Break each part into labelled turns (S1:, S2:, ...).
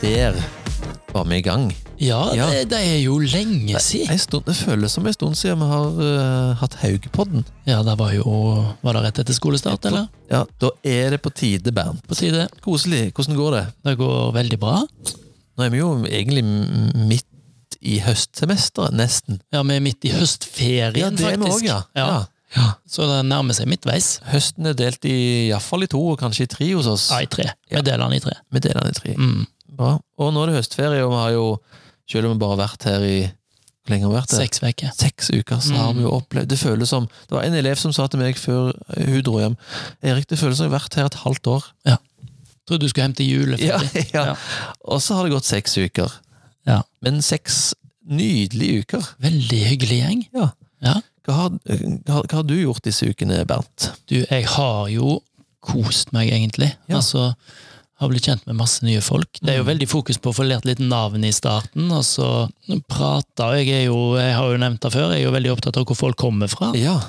S1: der var vi i gang.
S2: Ja,
S1: Ja.
S2: Det, det er jo lenge siden.
S1: En stund, det føles som en stund siden vi har eh, hatt Haugepodden.
S2: Ja, det var jo Var det rett etter skolestart, eller?
S1: Ja, da er det på tide, Bernt.
S2: På tide.
S1: Koselig. Hvordan går det?
S2: Det går veldig bra.
S1: Nå er vi jo egentlig m- midt i høstsemesteret, nesten.
S2: Ja, vi er midt i høstferien,
S1: Ja, det er vi
S2: faktisk.
S1: også, ja.
S2: Ja.
S1: Ja. Ja.
S2: Så det nærmer seg midtveis.
S1: Høsten er delt i iallfall i to, og kanskje i tre hos oss.
S2: Ja, i tre. Vi deler den i tre.
S1: Vi deler den i tre.
S2: Mm.
S1: Bra. Og nå er det høstferie, og vi har jo, selv om vi bare har vært her i Hvor lenge har vi vært her?
S2: Seks uker.
S1: seks uker så har
S2: Mm.
S1: vi jo opplevd Det føles som Det var en elev som sa til meg før eh, hun dro hjem Erik, det føles som jeg har vært her et halvt år.
S2: Trodde du skulle hjem til juleferie.
S1: ja.
S2: Ja.
S1: Og så har det gått seks uker.
S2: Ja.
S1: Men seks nydelige uker.
S2: Veldig hyggelig gjeng.
S1: Ja.
S2: Ja.
S1: Hva har, eh, hva, har- hva har du gjort disse ukene, Bernt?
S2: Du, jeg har jo kost meg, egentlig.
S1: Ja. Mm.
S2: Altså, har blitt kjent med masse nye folk. Det er jo veldig fokus på å få lært litt navn i starten, og så prate. og Jeg, er jo, jeg har jo nevnt det før, jeg er jo veldig opptatt av hvor folk kommer fra.
S1: Ja,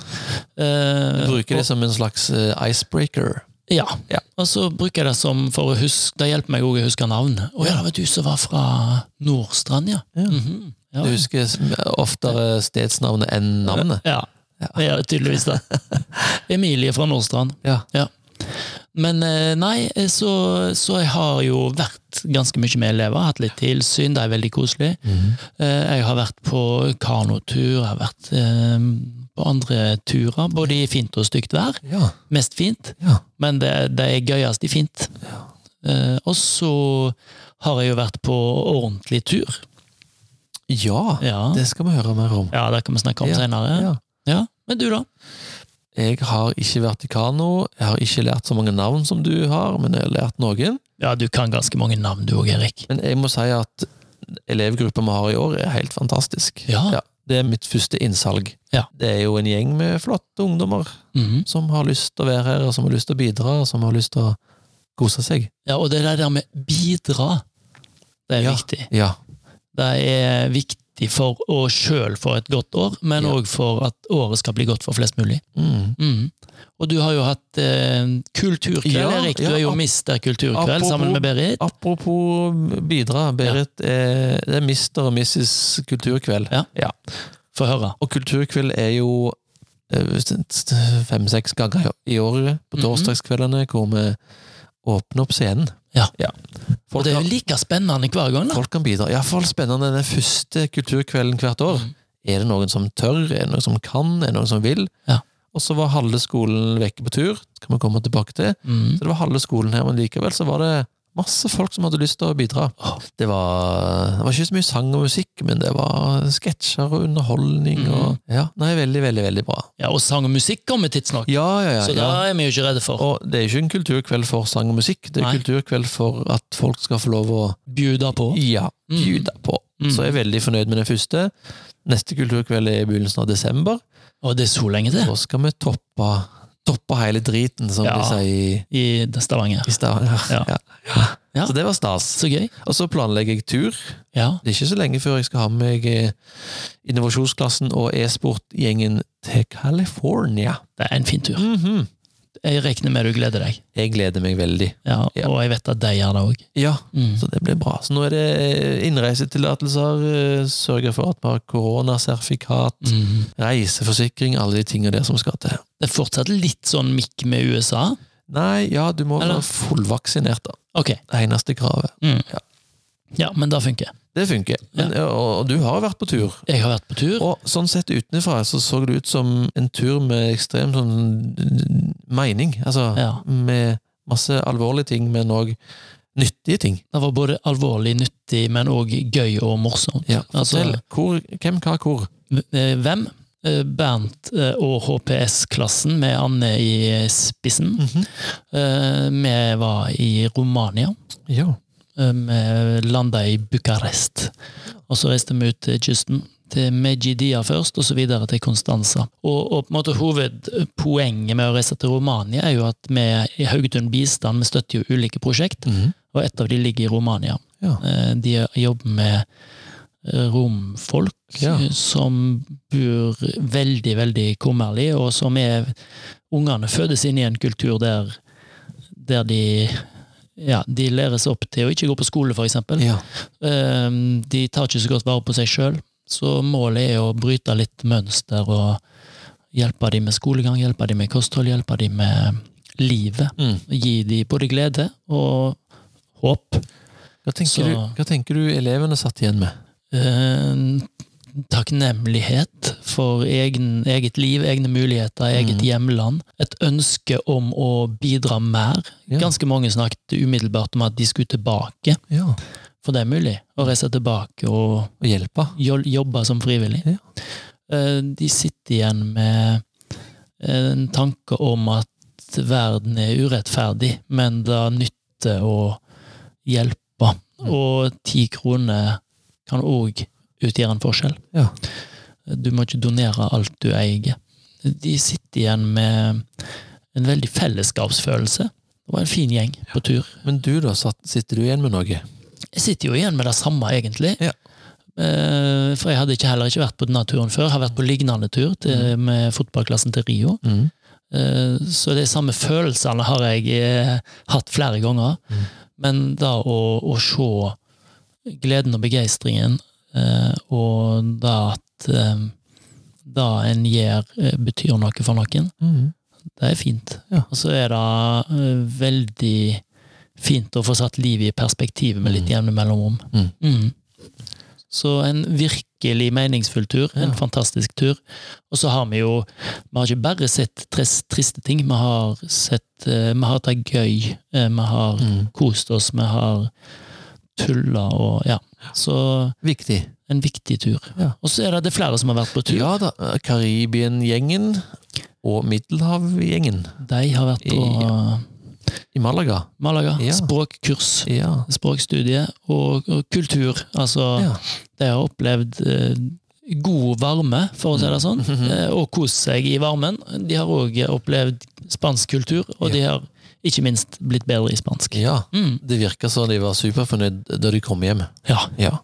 S2: Eh,
S1: Bruker det
S2: og,
S1: som en slags eh, icebreaker.
S2: ja.
S1: Ja.
S2: og så bruker jeg det som for å huske Det hjelper meg òg å huske navn. Å ja, det var du som var fra Nordstrand, ja.
S1: Ja.
S2: Mhm. ja. Eh,
S1: Du husker s- eh, oftere stedsnavnet enn navnet.
S2: Ja. Det gjør jeg tydeligvis det. Emilie fra Nordstrand.
S1: Ja.
S2: Ja. Men eh, nei, eh, så, så jeg har jo vært ganske mye med elever, hatt litt tilsyn, det er veldig koselig.
S1: Mhm.
S2: Eh, Jeg har vært på kanotur, jeg har vært eh, på andre turer, både i fint og stygt vær.
S1: Ja.
S2: Mest fint,
S1: ja.
S2: men det, det er gøyest i fint. Eh, Og så har jeg jo vært på ordentlig tur.
S1: Ja,
S2: Ja,
S1: det skal vi høre mer om.
S2: ja det kan vi snakke om
S1: Ja,
S2: senere.
S1: Ja.
S2: Ja, men du da?
S1: Jeg har ikke vært i kano, jeg har ikke lært så mange navn som du har, men jeg har lært noen.
S2: Ja, du kan ganske mange navn du òg, Erik.
S1: Men jeg må si at elevgruppa vi har i år, er helt fantastisk.
S2: Ja.
S1: det er mitt første innsalg.
S2: Ja.
S1: Det er jo en gjeng med flotte ungdommer
S2: Mhm.
S1: som har lyst til å være her, og som har lyst til å bidra, og som har lyst til å kose seg.
S2: Ja, og det der med bidra, det er
S1: Ja.
S2: viktig.
S1: Ja.
S2: Det er viktig for å sjøl få et godt år, men
S1: Ja.
S2: òg for at året skal bli godt for flest mulig.
S1: Mm.
S2: Mhm. Og du har jo hatt eh, kulturkveld,
S1: Ja,
S2: Erik. Du
S1: ja,
S2: er jo
S1: ap-
S2: mister kulturkveld
S1: apropos-
S2: sammen med Berit.
S1: Apropos bidra, Berit er, det er mister og missis kulturkveld.
S2: Ja. Få høre.
S1: Og kulturkveld er jo eh, fem-seks ganger i året på
S2: Mhm.
S1: torsdagskveldene hvor vi åpner opp scenen.
S2: Ja. Og
S1: Folk,
S2: det er jo
S1: kan,
S2: like spennende hver gang, da.
S1: folk kan bidra. Iallfall spennende den første kulturkvelden hvert år.
S2: Mhm.
S1: Er det noen som tør? Er det noen som kan? Er det noen som vil?
S2: Ja.
S1: Og så var halve skolen vekke på tur. Det kan vi komme tilbake til.
S2: Mhm.
S1: Så det var halve skolen her, men likevel så var det masse folk som hadde lyst til å bidra.
S2: Åh.
S1: Det var, det var ikke så mye sang og musikk, men det var sketsjer og underholdning og
S2: Mm.
S1: Ja, nei, veldig, veldig, veldig bra.
S2: Ja, og sang og musikk kommer tidsnok,
S1: Ja, ja, ja.
S2: så det
S1: ja.
S2: er vi jo ikke redde for.
S1: Og det er ikke en kulturkveld for sang og musikk, det er
S2: Nei.
S1: kulturkveld for at folk skal få lov å
S2: Bjuda på.
S1: ja,
S2: Mm.
S1: bjuda på.
S2: Mm.
S1: Så jeg er veldig fornøyd med den første. Neste kulturkveld er i begynnelsen av desember.
S2: Og det er så lenge til
S1: Da skal vi toppe, toppe hele driten, som
S2: Ja.
S1: de sier
S2: i Stavanger.
S1: i Stavanger.
S2: Ja. Ja.
S1: Så det var stas.
S2: Så gøy.
S1: Og så planlegger jeg tur.
S2: Ja.
S1: Det er ikke så lenge før jeg skal ha med meg eh, innovasjonsklassen og e-sportgjengen til California.
S2: Det er en fin tur.
S1: Mhm.
S2: Jeg regner med du gleder deg.
S1: Jeg gleder meg veldig.
S2: Ja,
S1: Ja.
S2: Og jeg vet at de gjør det òg.
S1: Ja,
S2: Mm.
S1: så det blir bra. Så nå er det eh, innreisetillatelser, eh, sørge for at vi har koronasertifikat,
S2: Mm.
S1: reiseforsikring, alle de tingene der som skal til.
S2: Det er fortsatt litt sånn mikk med USA.
S1: Nei, ja, du må
S2: Eller-
S1: være fullvaksinert, da.
S2: Ok,
S1: Det eneste kravet.
S2: ja, men det funker.
S1: Det funker. Men, og, og du har vært på tur.
S2: Jeg har vært på tur.
S1: Og sånn sett utenfra så så det ut som en tur med ekstrem sånn mening. Altså
S2: Ja.
S1: med masse alvorlige ting, men òg nyttige ting.
S2: Det var både alvorlig, nyttig, men òg gøy og morsomt.
S1: Ja,
S2: altså,
S1: fortell hvor, hvem, hva, hvor.
S2: v- eh, hvem? Eh, Bernt eh, og HPS-klassen med Anne i eh, spissen.
S1: Mhm.
S2: Eh, Vi var i Romania.
S1: Ja.
S2: Eh, Vi landa i Bucarest. Og så reiste vi ut til kysten. Til Megidia først, og så videre til Konstanza. Og, og på en måte Hovedpoenget med å reise til Romania er jo at vi i Haugetun Bistand vi støtter jo ulike prosjekt,
S1: Mhm.
S2: og et av de ligger i Romania.
S1: Ja.
S2: Eh, De jobber med eh, romfolk
S1: Ja.
S2: eh, som bor veldig, veldig kummerlig, og som er Ungene fødes inn i en kultur der, der de ja, de læres opp til å ikke gå på skole, f.eks.
S1: Ja.
S2: Ehm, De tar ikke så godt vare på seg sjøl, så målet er å bryte litt mønster og hjelpe dem med skolegang, hjelpe dem med kosthold, hjelpe dem med livet.
S1: Mm.
S2: Gi dem både glede og håp.
S1: Hva, tenker
S2: Så-
S1: du, hva tenker du elevene satt igjen med?
S2: Ehm, Takknemlighet for egen, eget liv, egne muligheter, eget
S1: Mhm.
S2: hjemland. Et ønske om å bidra mer.
S1: Ja.
S2: Ganske mange snakket umiddelbart om at de skulle tilbake,
S1: Ja.
S2: for det er mulig å reise tilbake
S1: Og
S2: og
S1: hjelpa?
S2: jo- jobbe som frivillig.
S1: Ja.
S2: Eh, De sitter igjen med eh, en tanke om at verden er urettferdig, men det nytter å hjelpe.
S1: Mm.
S2: Og ti kroner kan òg utgjøre en forskjell.
S1: Ja.
S2: Du må ikke donere alt du eier. De sitter igjen med en veldig fellesskapsfølelse. Det var en fin gjeng på tur.
S1: Men du, da? Satt, sitter du igjen med noe?
S2: Jeg sitter jo igjen med det samme, egentlig.
S1: Ja.
S2: Eh, For jeg hadde ikke, heller ikke vært på denne turen før. Jeg har vært på lignende tur til, med fotballklassen til Rio.
S1: Mm.
S2: Eh, Så de samme følelsene har jeg eh, hatt flere ganger.
S1: Mm.
S2: Men da å, å se gleden og begeistringen, eh, og da at eh, det en gjør, eh, betyr noe for noen,
S1: Mm.
S2: det er fint.
S1: Ja.
S2: Og så er det eh, veldig fint å få satt livet i perspektiv med litt
S1: Mm.
S2: jevne mellomrom.
S1: Mm.
S2: Så en virkelig meningsfull tur. En
S1: Ja.
S2: fantastisk tur. Og så har vi jo Vi har ikke bare sett tres, triste ting. Vi har sett eh, Vi har hatt det gøy. eh, Vi har
S1: Mm.
S2: kost oss. Vi har tulla og Ja. Så
S1: Viktig.
S2: en viktig tur.
S1: Ja.
S2: Og så er det, det er flere som har vært på tur.
S1: Ja da. Karibien-gjengen og Middelhav-gjengen
S2: De har vært på
S1: Ja. i Malaga.
S2: Malaga.
S1: Ja.
S2: Språkkurs.
S1: Ja.
S2: språkstudie og, og kultur. Altså,
S1: Ja.
S2: de har opplevd eh, god varme, for å si
S1: Mm.
S2: det sånn, eh, og kost seg i varmen. De har òg opplevd spansk kultur, og
S1: Ja.
S2: de har ikke minst blitt bedre i spansk.
S1: ja.
S2: Mm.
S1: Det virka som de var superfornøyd da de kom hjem.
S2: Ja,
S1: Ja.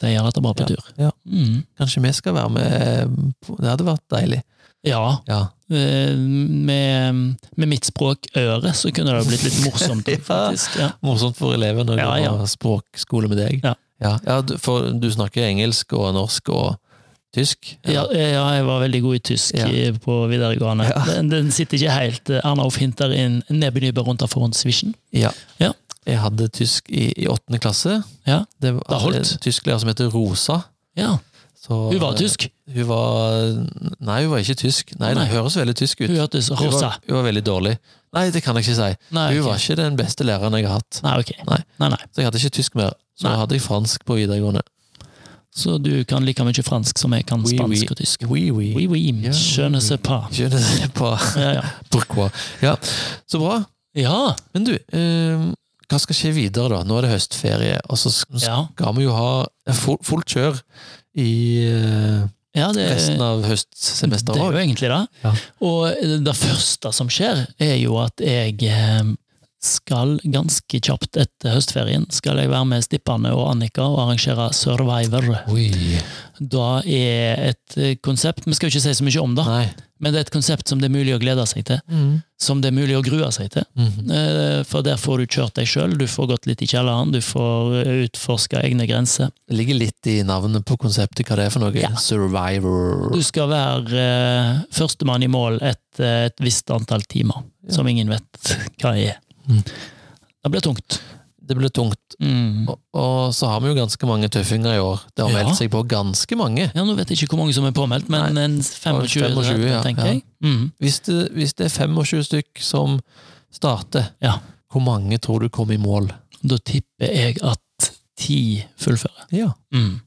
S2: de har hatt det bra på tur.
S1: Ja.
S2: Mm.
S1: Kanskje vi skal være med på- Det hadde vært deilig.
S2: ja.
S1: Ja.
S2: eh, Med, med mitt språk øre, så kunne det blitt litt morsomt,
S1: Ja.
S2: faktisk. Ja.
S1: Morsomt for elevene å
S2: Ja,
S1: gå
S2: ja.
S1: på språkskole med deg.
S2: Ja.
S1: Ja. Ja, du, for du snakker engelsk og norsk og tysk?
S2: Ja,
S1: eller?
S2: ja, jeg var veldig god i tysk
S1: Ja.
S2: i- på videregående.
S1: Ja.
S2: Den, den sitter ikke helt. Arnauf hinter inn nebenüber rundt av Svischen.
S1: Ja.
S2: Ja.
S1: Jeg hadde tysk i, i åttende klasse.
S2: Ja.
S1: Det var
S2: Da holdt.
S1: en tysklærer som heter Rosa.
S2: Ja,
S1: Så,
S2: hun var tysk.
S1: Hun var Nei, hun var ikke tysk. Nei,
S2: Nei.
S1: Det høres veldig tysk ut.
S2: Hun hørtes
S1: Hun
S2: rosa.
S1: var, hun var veldig dårlig. Nei, det kan jeg ikke si.
S2: Nei,
S1: Hun
S2: ok.
S1: var ikke den beste læreren jeg har hatt.
S2: Nei, ok.
S1: Nei.
S2: Nei, nei.
S1: Så jeg hadde ikke tysk mer. Så
S2: Nei.
S1: hadde jeg fransk på videregående.
S2: Så du kan like mye fransk som jeg kan
S1: Oui, oui.
S2: spansk og tysk.
S1: Oui,
S2: Oui, oui.
S1: Ja,
S2: Je ne
S1: oui.
S2: sais pas.
S1: Je ne sais pas
S2: Ja, ja.
S1: pourquoi. Ja, så bra.
S2: ja.
S1: Men du, eh, hva skal skje videre da? Nå er det høstferie, og så sk-
S2: ja.
S1: skal vi jo ha full, fullt kjør i eh,
S2: ja det,
S1: resten
S2: det
S1: av
S2: er
S1: høstsemesteret
S2: jo
S1: òg.
S2: egentlig det.
S1: Ja.
S2: Og det første som skjer, er jo at jeg eh, skal ganske kjapt etter høstferien skal jeg være med Stippane og Annika og arrangere Survivor.
S1: Oi.
S2: Da er et eh, konsept Vi skal jo ikke si så mye om det,
S1: Nei.
S2: men det er et konsept som det er mulig å glede seg til.
S1: Mm.
S2: Som det er mulig å grue seg til.
S1: Mhm.
S2: Eh, For der får du kjørt deg sjøl, du får gått litt i kjelleren, du får utforska egne grenser.
S1: Det ligger litt i navnet på konseptet, hva det er for noe.
S2: Ja.
S1: Survivor.
S2: Du skal være eh, førstemann i mål etter et visst antall timer,
S1: Ja.
S2: som ingen vet hva er.
S1: Mm.
S2: Det blir tungt.
S1: Det ble tungt.
S2: Mm.
S1: Og, og så har vi jo ganske mange tøffinger i år. Det har
S2: Ja.
S1: meldt seg på ganske mange.
S2: Ja, Nå vet jeg ikke hvor mange som er påmeldt, men en 25,
S1: 25, ja,
S2: tenker
S1: ja.
S2: jeg. Mm.
S1: Hvis det, hvis det er 25 stykk som starter,
S2: Ja.
S1: hvor mange tror du kom i mål?
S2: Da tipper jeg at ti fullfører.
S1: Ja.
S2: Mm.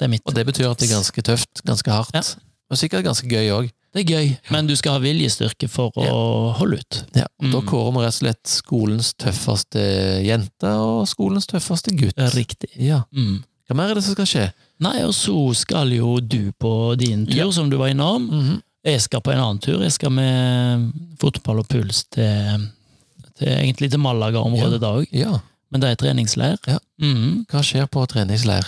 S2: Det er mitt.
S1: Og det betyr at det er ganske tøft, ganske hardt.
S2: Ja.
S1: Og sikkert ganske gøy òg.
S2: Det er gøy, men du skal ha viljestyrke for å holde ut.
S1: Ja. og Da
S2: Mm.
S1: kårer vi rett og slett skolens tøffeste jente og skolens tøffeste gutt.
S2: Riktig.
S1: Ja.
S2: Mm.
S1: Hva mer er det som skal skje?
S2: Nei, og så skal jo du på din tur, som du var innom.
S1: Mhm.
S2: Jeg skal på en annen tur. Jeg skal med fotball og puls til, til egentlig til Malaga-området da òg,
S1: Ja.
S2: men det er treningsleir.
S1: Ja.
S2: Mhm.
S1: Hva skjer på treningsleir?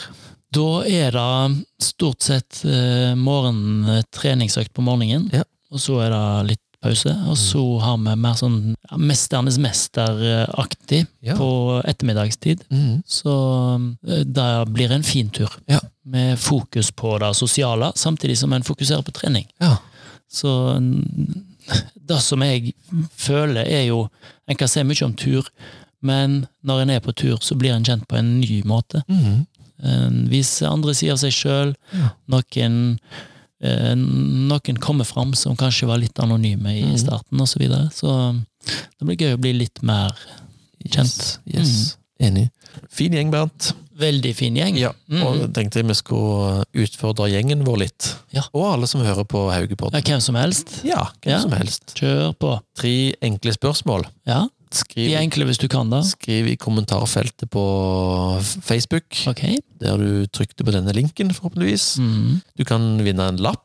S2: Da er det stort sett eh, morgen, treningsøkt på morgenen,
S1: Ja. Mm.
S2: og så er det litt pause. Og så har vi mer sånn ja, Mesternes mester-aktig
S1: Ja.
S2: på ettermiddagstid.
S1: Mm.
S2: Så eh, det blir en fin tur.
S1: Ja.
S2: Med fokus på det sosiale, samtidig som en fokuserer på trening.
S1: Ja.
S2: Så mm, det som jeg føler, er jo En kan se mye om tur, men når en er på tur, så blir en kjent på en ny måte.
S1: Mm.
S2: En viser andre sider av seg sjøl.
S1: Ja.
S2: Noen, eh, noen kommer fram som kanskje var litt anonyme i
S1: Mhm.
S2: starten, osv. Så, videre. så det blir gøy å bli litt mer
S1: Yes. yes. Enig. Fin gjeng, Bernt.
S2: Veldig fin Mhm. gjeng.
S1: Ja, og
S2: Mhm.
S1: jeg tenkte vi skulle utfordre gjengen vår litt.
S2: Ja.
S1: Og alle som hører på Haugepodden.
S2: Ja, hvem som helst.
S1: Ja, hvem
S2: Ja.
S1: som helst.
S2: Kjør på.
S1: Tre enkle spørsmål.
S2: Ja, De
S1: Skriv,
S2: er enkle hvis du kan, da.
S1: skriv i kommentarfeltet på Facebook,
S2: Ok.
S1: der du trykte på denne linken, forhåpentligvis.
S2: Mhm.
S1: Du kan vinne en lapp.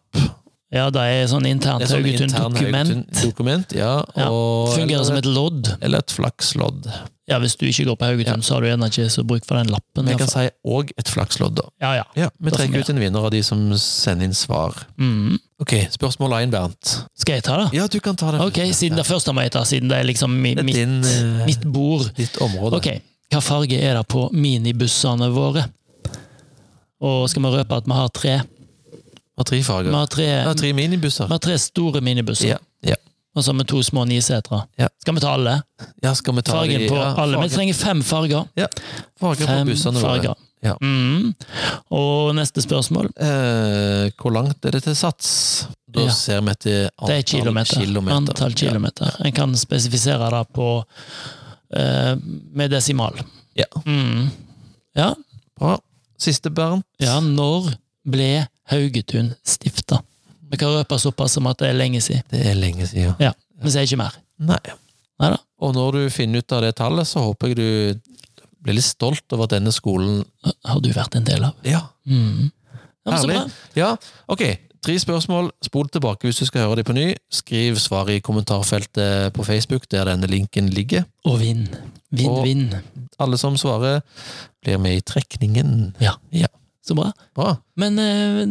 S2: Ja, det er sånn internt
S1: Det er sånn intern
S2: Haugetun-dokument.
S1: Haugetun-dokument, ja.
S2: Ja,
S1: Og,
S2: Fungerer som
S1: eller,
S2: et lodd.
S1: eller et flakslodd.
S2: Ja, Hvis du ikke går på Haugetun, så har du gjerne ikke så bruk for den lappen. i
S1: Vi
S2: hvert
S1: kan
S2: fall.
S1: si òg et flakslodd, da.
S2: Ja, ja.
S1: Ja, vi
S2: Da
S1: trekker
S2: fungerer.
S1: ut en vinner av de som sender inn svar.
S2: Mhm.
S1: Ok, spørsmål 1, Bernt.
S2: Skal jeg ta det?
S1: Ja, du kan ta det.
S2: Ok, siden det første må jeg ta, siden det er liksom mi,
S1: Det er
S2: mitt,
S1: din, eh,
S2: mitt bord.
S1: Ditt område.
S2: Ok, hva farge er det på minibussene våre? Og skal vi røpe at vi har tre?
S1: Og tre farger.
S2: Vi har tre,
S1: Ja,
S2: vi
S1: tre minibusser.
S2: har tre store minibusser,
S1: Ja, ja.
S2: og så har vi to små nisetere.
S1: Ja.
S2: Skal vi ta alle?
S1: ja, skal vi ta
S2: Fargen
S1: de,
S2: på
S1: ja,
S2: alle. Vi
S1: Farger,
S2: trenger fem farger.
S1: farger på
S2: Fem
S1: bussene våre.
S2: farger.
S1: Ja.
S2: Mm. Og neste spørsmål.
S1: Eh, hvor langt er det til sats? Da
S2: Ja.
S1: ser vi etter antall
S2: Det er kilometer. Antall kilometer. En kan spesifisere det på eh, med desimal.
S1: Ja.
S2: Mm. Ja.
S1: Ja. Bra. Siste, Bernt.
S2: Ja, når ble Haugetun stifta? Vi kan røpe såpass som at det er lenge siden.
S1: Det er lenge siden.
S2: Ja, Vi sier ikke mer.
S1: Nei.
S2: Neida.
S1: Og når du finner ut av det tallet, så håper jeg du blir litt stolt over at denne skolen
S2: Har du vært en del av?
S1: Ja,
S2: Mm. Ja, men så
S1: herlig.
S2: bra.
S1: Ja, ok. Tre spørsmål. Spol tilbake hvis du skal høre dem på ny. Skriv svar i kommentarfeltet på Facebook, der denne linken ligger.
S2: Og vinn. Vinn,
S1: Og-
S2: vinn.
S1: Alle som svarer, blir med i trekningen.
S2: Så bra.
S1: Bra.
S2: Men eh,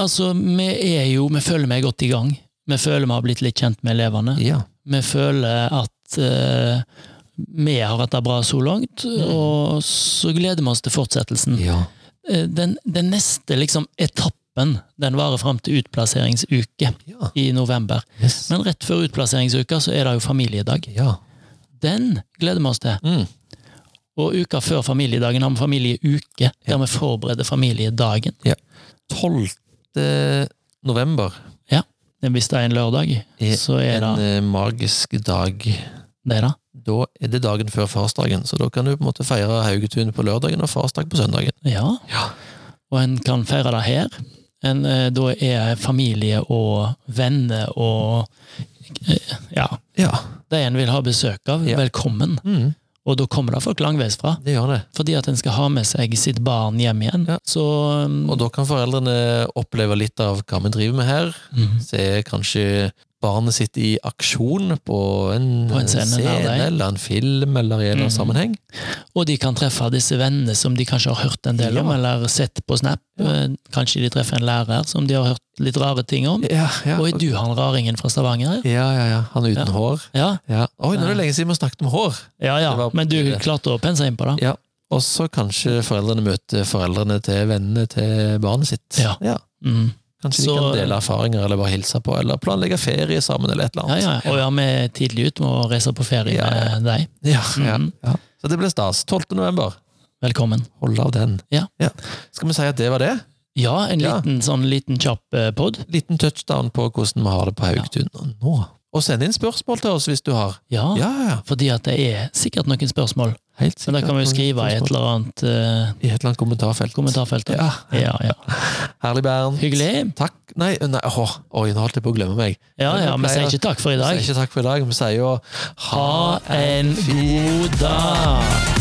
S2: altså, vi er jo Vi føler vi er godt i gang. Vi føler vi har blitt litt kjent med elevene.
S1: Ja.
S2: Vi føler at eh, vi har hatt det bra så langt, og så gleder vi oss til fortsettelsen.
S1: ja.
S2: Eh, Den, den neste liksom, etappen den varer fram til utplasseringsuke
S1: Ja.
S2: i november.
S1: Yes.
S2: Men rett før utplasseringsuka så er det jo familiedag.
S1: ja.
S2: Den gleder vi oss til.
S1: Mm.
S2: Og uka før familiedagen har vi familieuke, der vi forbereder familiedagen.
S1: 12. november.
S2: Hvis det er en lørdag,
S1: Er
S2: så er
S1: En
S2: det
S1: eh, magisk dag.
S2: det, da.
S1: Da er det dagen før farsdagen, så da kan du på en måte feire Haugetun på lørdagen og farsdag på søndagen.
S2: Ja.
S1: Ja.
S2: Og en kan feire det her. En, eh, da er familie og venner og eh, Ja.
S1: Ja.
S2: De en vil ha besøk av,
S1: Ja.
S2: velkommen.
S1: Mm.
S2: Og da kommer det folk langveisfra.
S1: Det gjør det.
S2: fordi at en skal ha med seg sitt barn hjem igjen.
S1: Ja.
S2: Så um,
S1: Og da kan foreldrene oppleve litt av hva vi driver med her.
S2: mhm.
S1: Se kanskje barnet sitt i aksjon på en,
S2: På en scene nær deg.
S1: eller en film eller i en eller annen
S2: Mm.
S1: sammenheng.
S2: Og de kan treffe disse vennene som de kanskje har hørt en del om,
S1: Ja.
S2: eller sett på Snap.
S1: Ja.
S2: Eh, Kanskje de treffer en lærer som de har hørt litt rare ting om.
S1: Ja, ja.
S2: Oi, du har en raringen fra Stavanger? ja?
S1: Ja, ja, ja. Han er uten
S2: Ja.
S1: hår.
S2: Ja,
S1: Ja. Oi, nå er det
S2: Nei.
S1: lenge siden vi har snakket om hår.
S2: ja, ja.
S1: Det var-
S2: men du klarte å pense inn på det.
S1: Ja. Og så kanskje foreldrene møter foreldrene til vennene til barnet sitt.
S2: Ja. Mm.
S1: Kanskje
S2: Så-
S1: de kan dele erfaringer, eller bare hilse på, eller planlegge ferie sammen, eller et eller
S2: Ja,
S1: annet.
S2: ja. Og ja, vi er tidlig ute med å reise på ferie
S1: Ja, ja.
S2: med deg.
S1: Ja, ja,
S2: Mhm.
S1: ja. Så det blir stas. 12. november.
S2: Velkommen.
S1: Hold av den.
S2: Ja.
S1: Skal vi si at det var det?
S2: Ja, en
S1: Ja.
S2: liten sånn liten kjapp eh, pod.
S1: Liten touchdown på hvordan vi har det på Haugtun nå. Og send inn spørsmål til oss hvis du har. Ja,
S2: Ja,
S1: ja, ja.
S2: fordi at det er sikkert noen spørsmål.
S1: Helt
S2: Men
S1: sikkert.
S2: det kan vi jo
S1: noen
S2: skrive i et
S1: spørsmål.
S2: eller annet eh,
S1: I et eller annet kommentarfelt.
S2: kommentarfelt. da.
S1: Ja.
S2: Ja, ja.
S1: Herlig, Bernt.
S2: Hyggelig.
S1: Takk. Nei, nei åh, oi, nå holdt jeg på å glemme meg.
S2: Ja,
S1: Men
S2: ja,
S1: vi
S2: vi sier
S1: pleier-
S2: ikke takk for i
S1: Vi
S2: dag.
S1: sier ikke takk for i dag, vi sier jo
S2: Ha en god dag!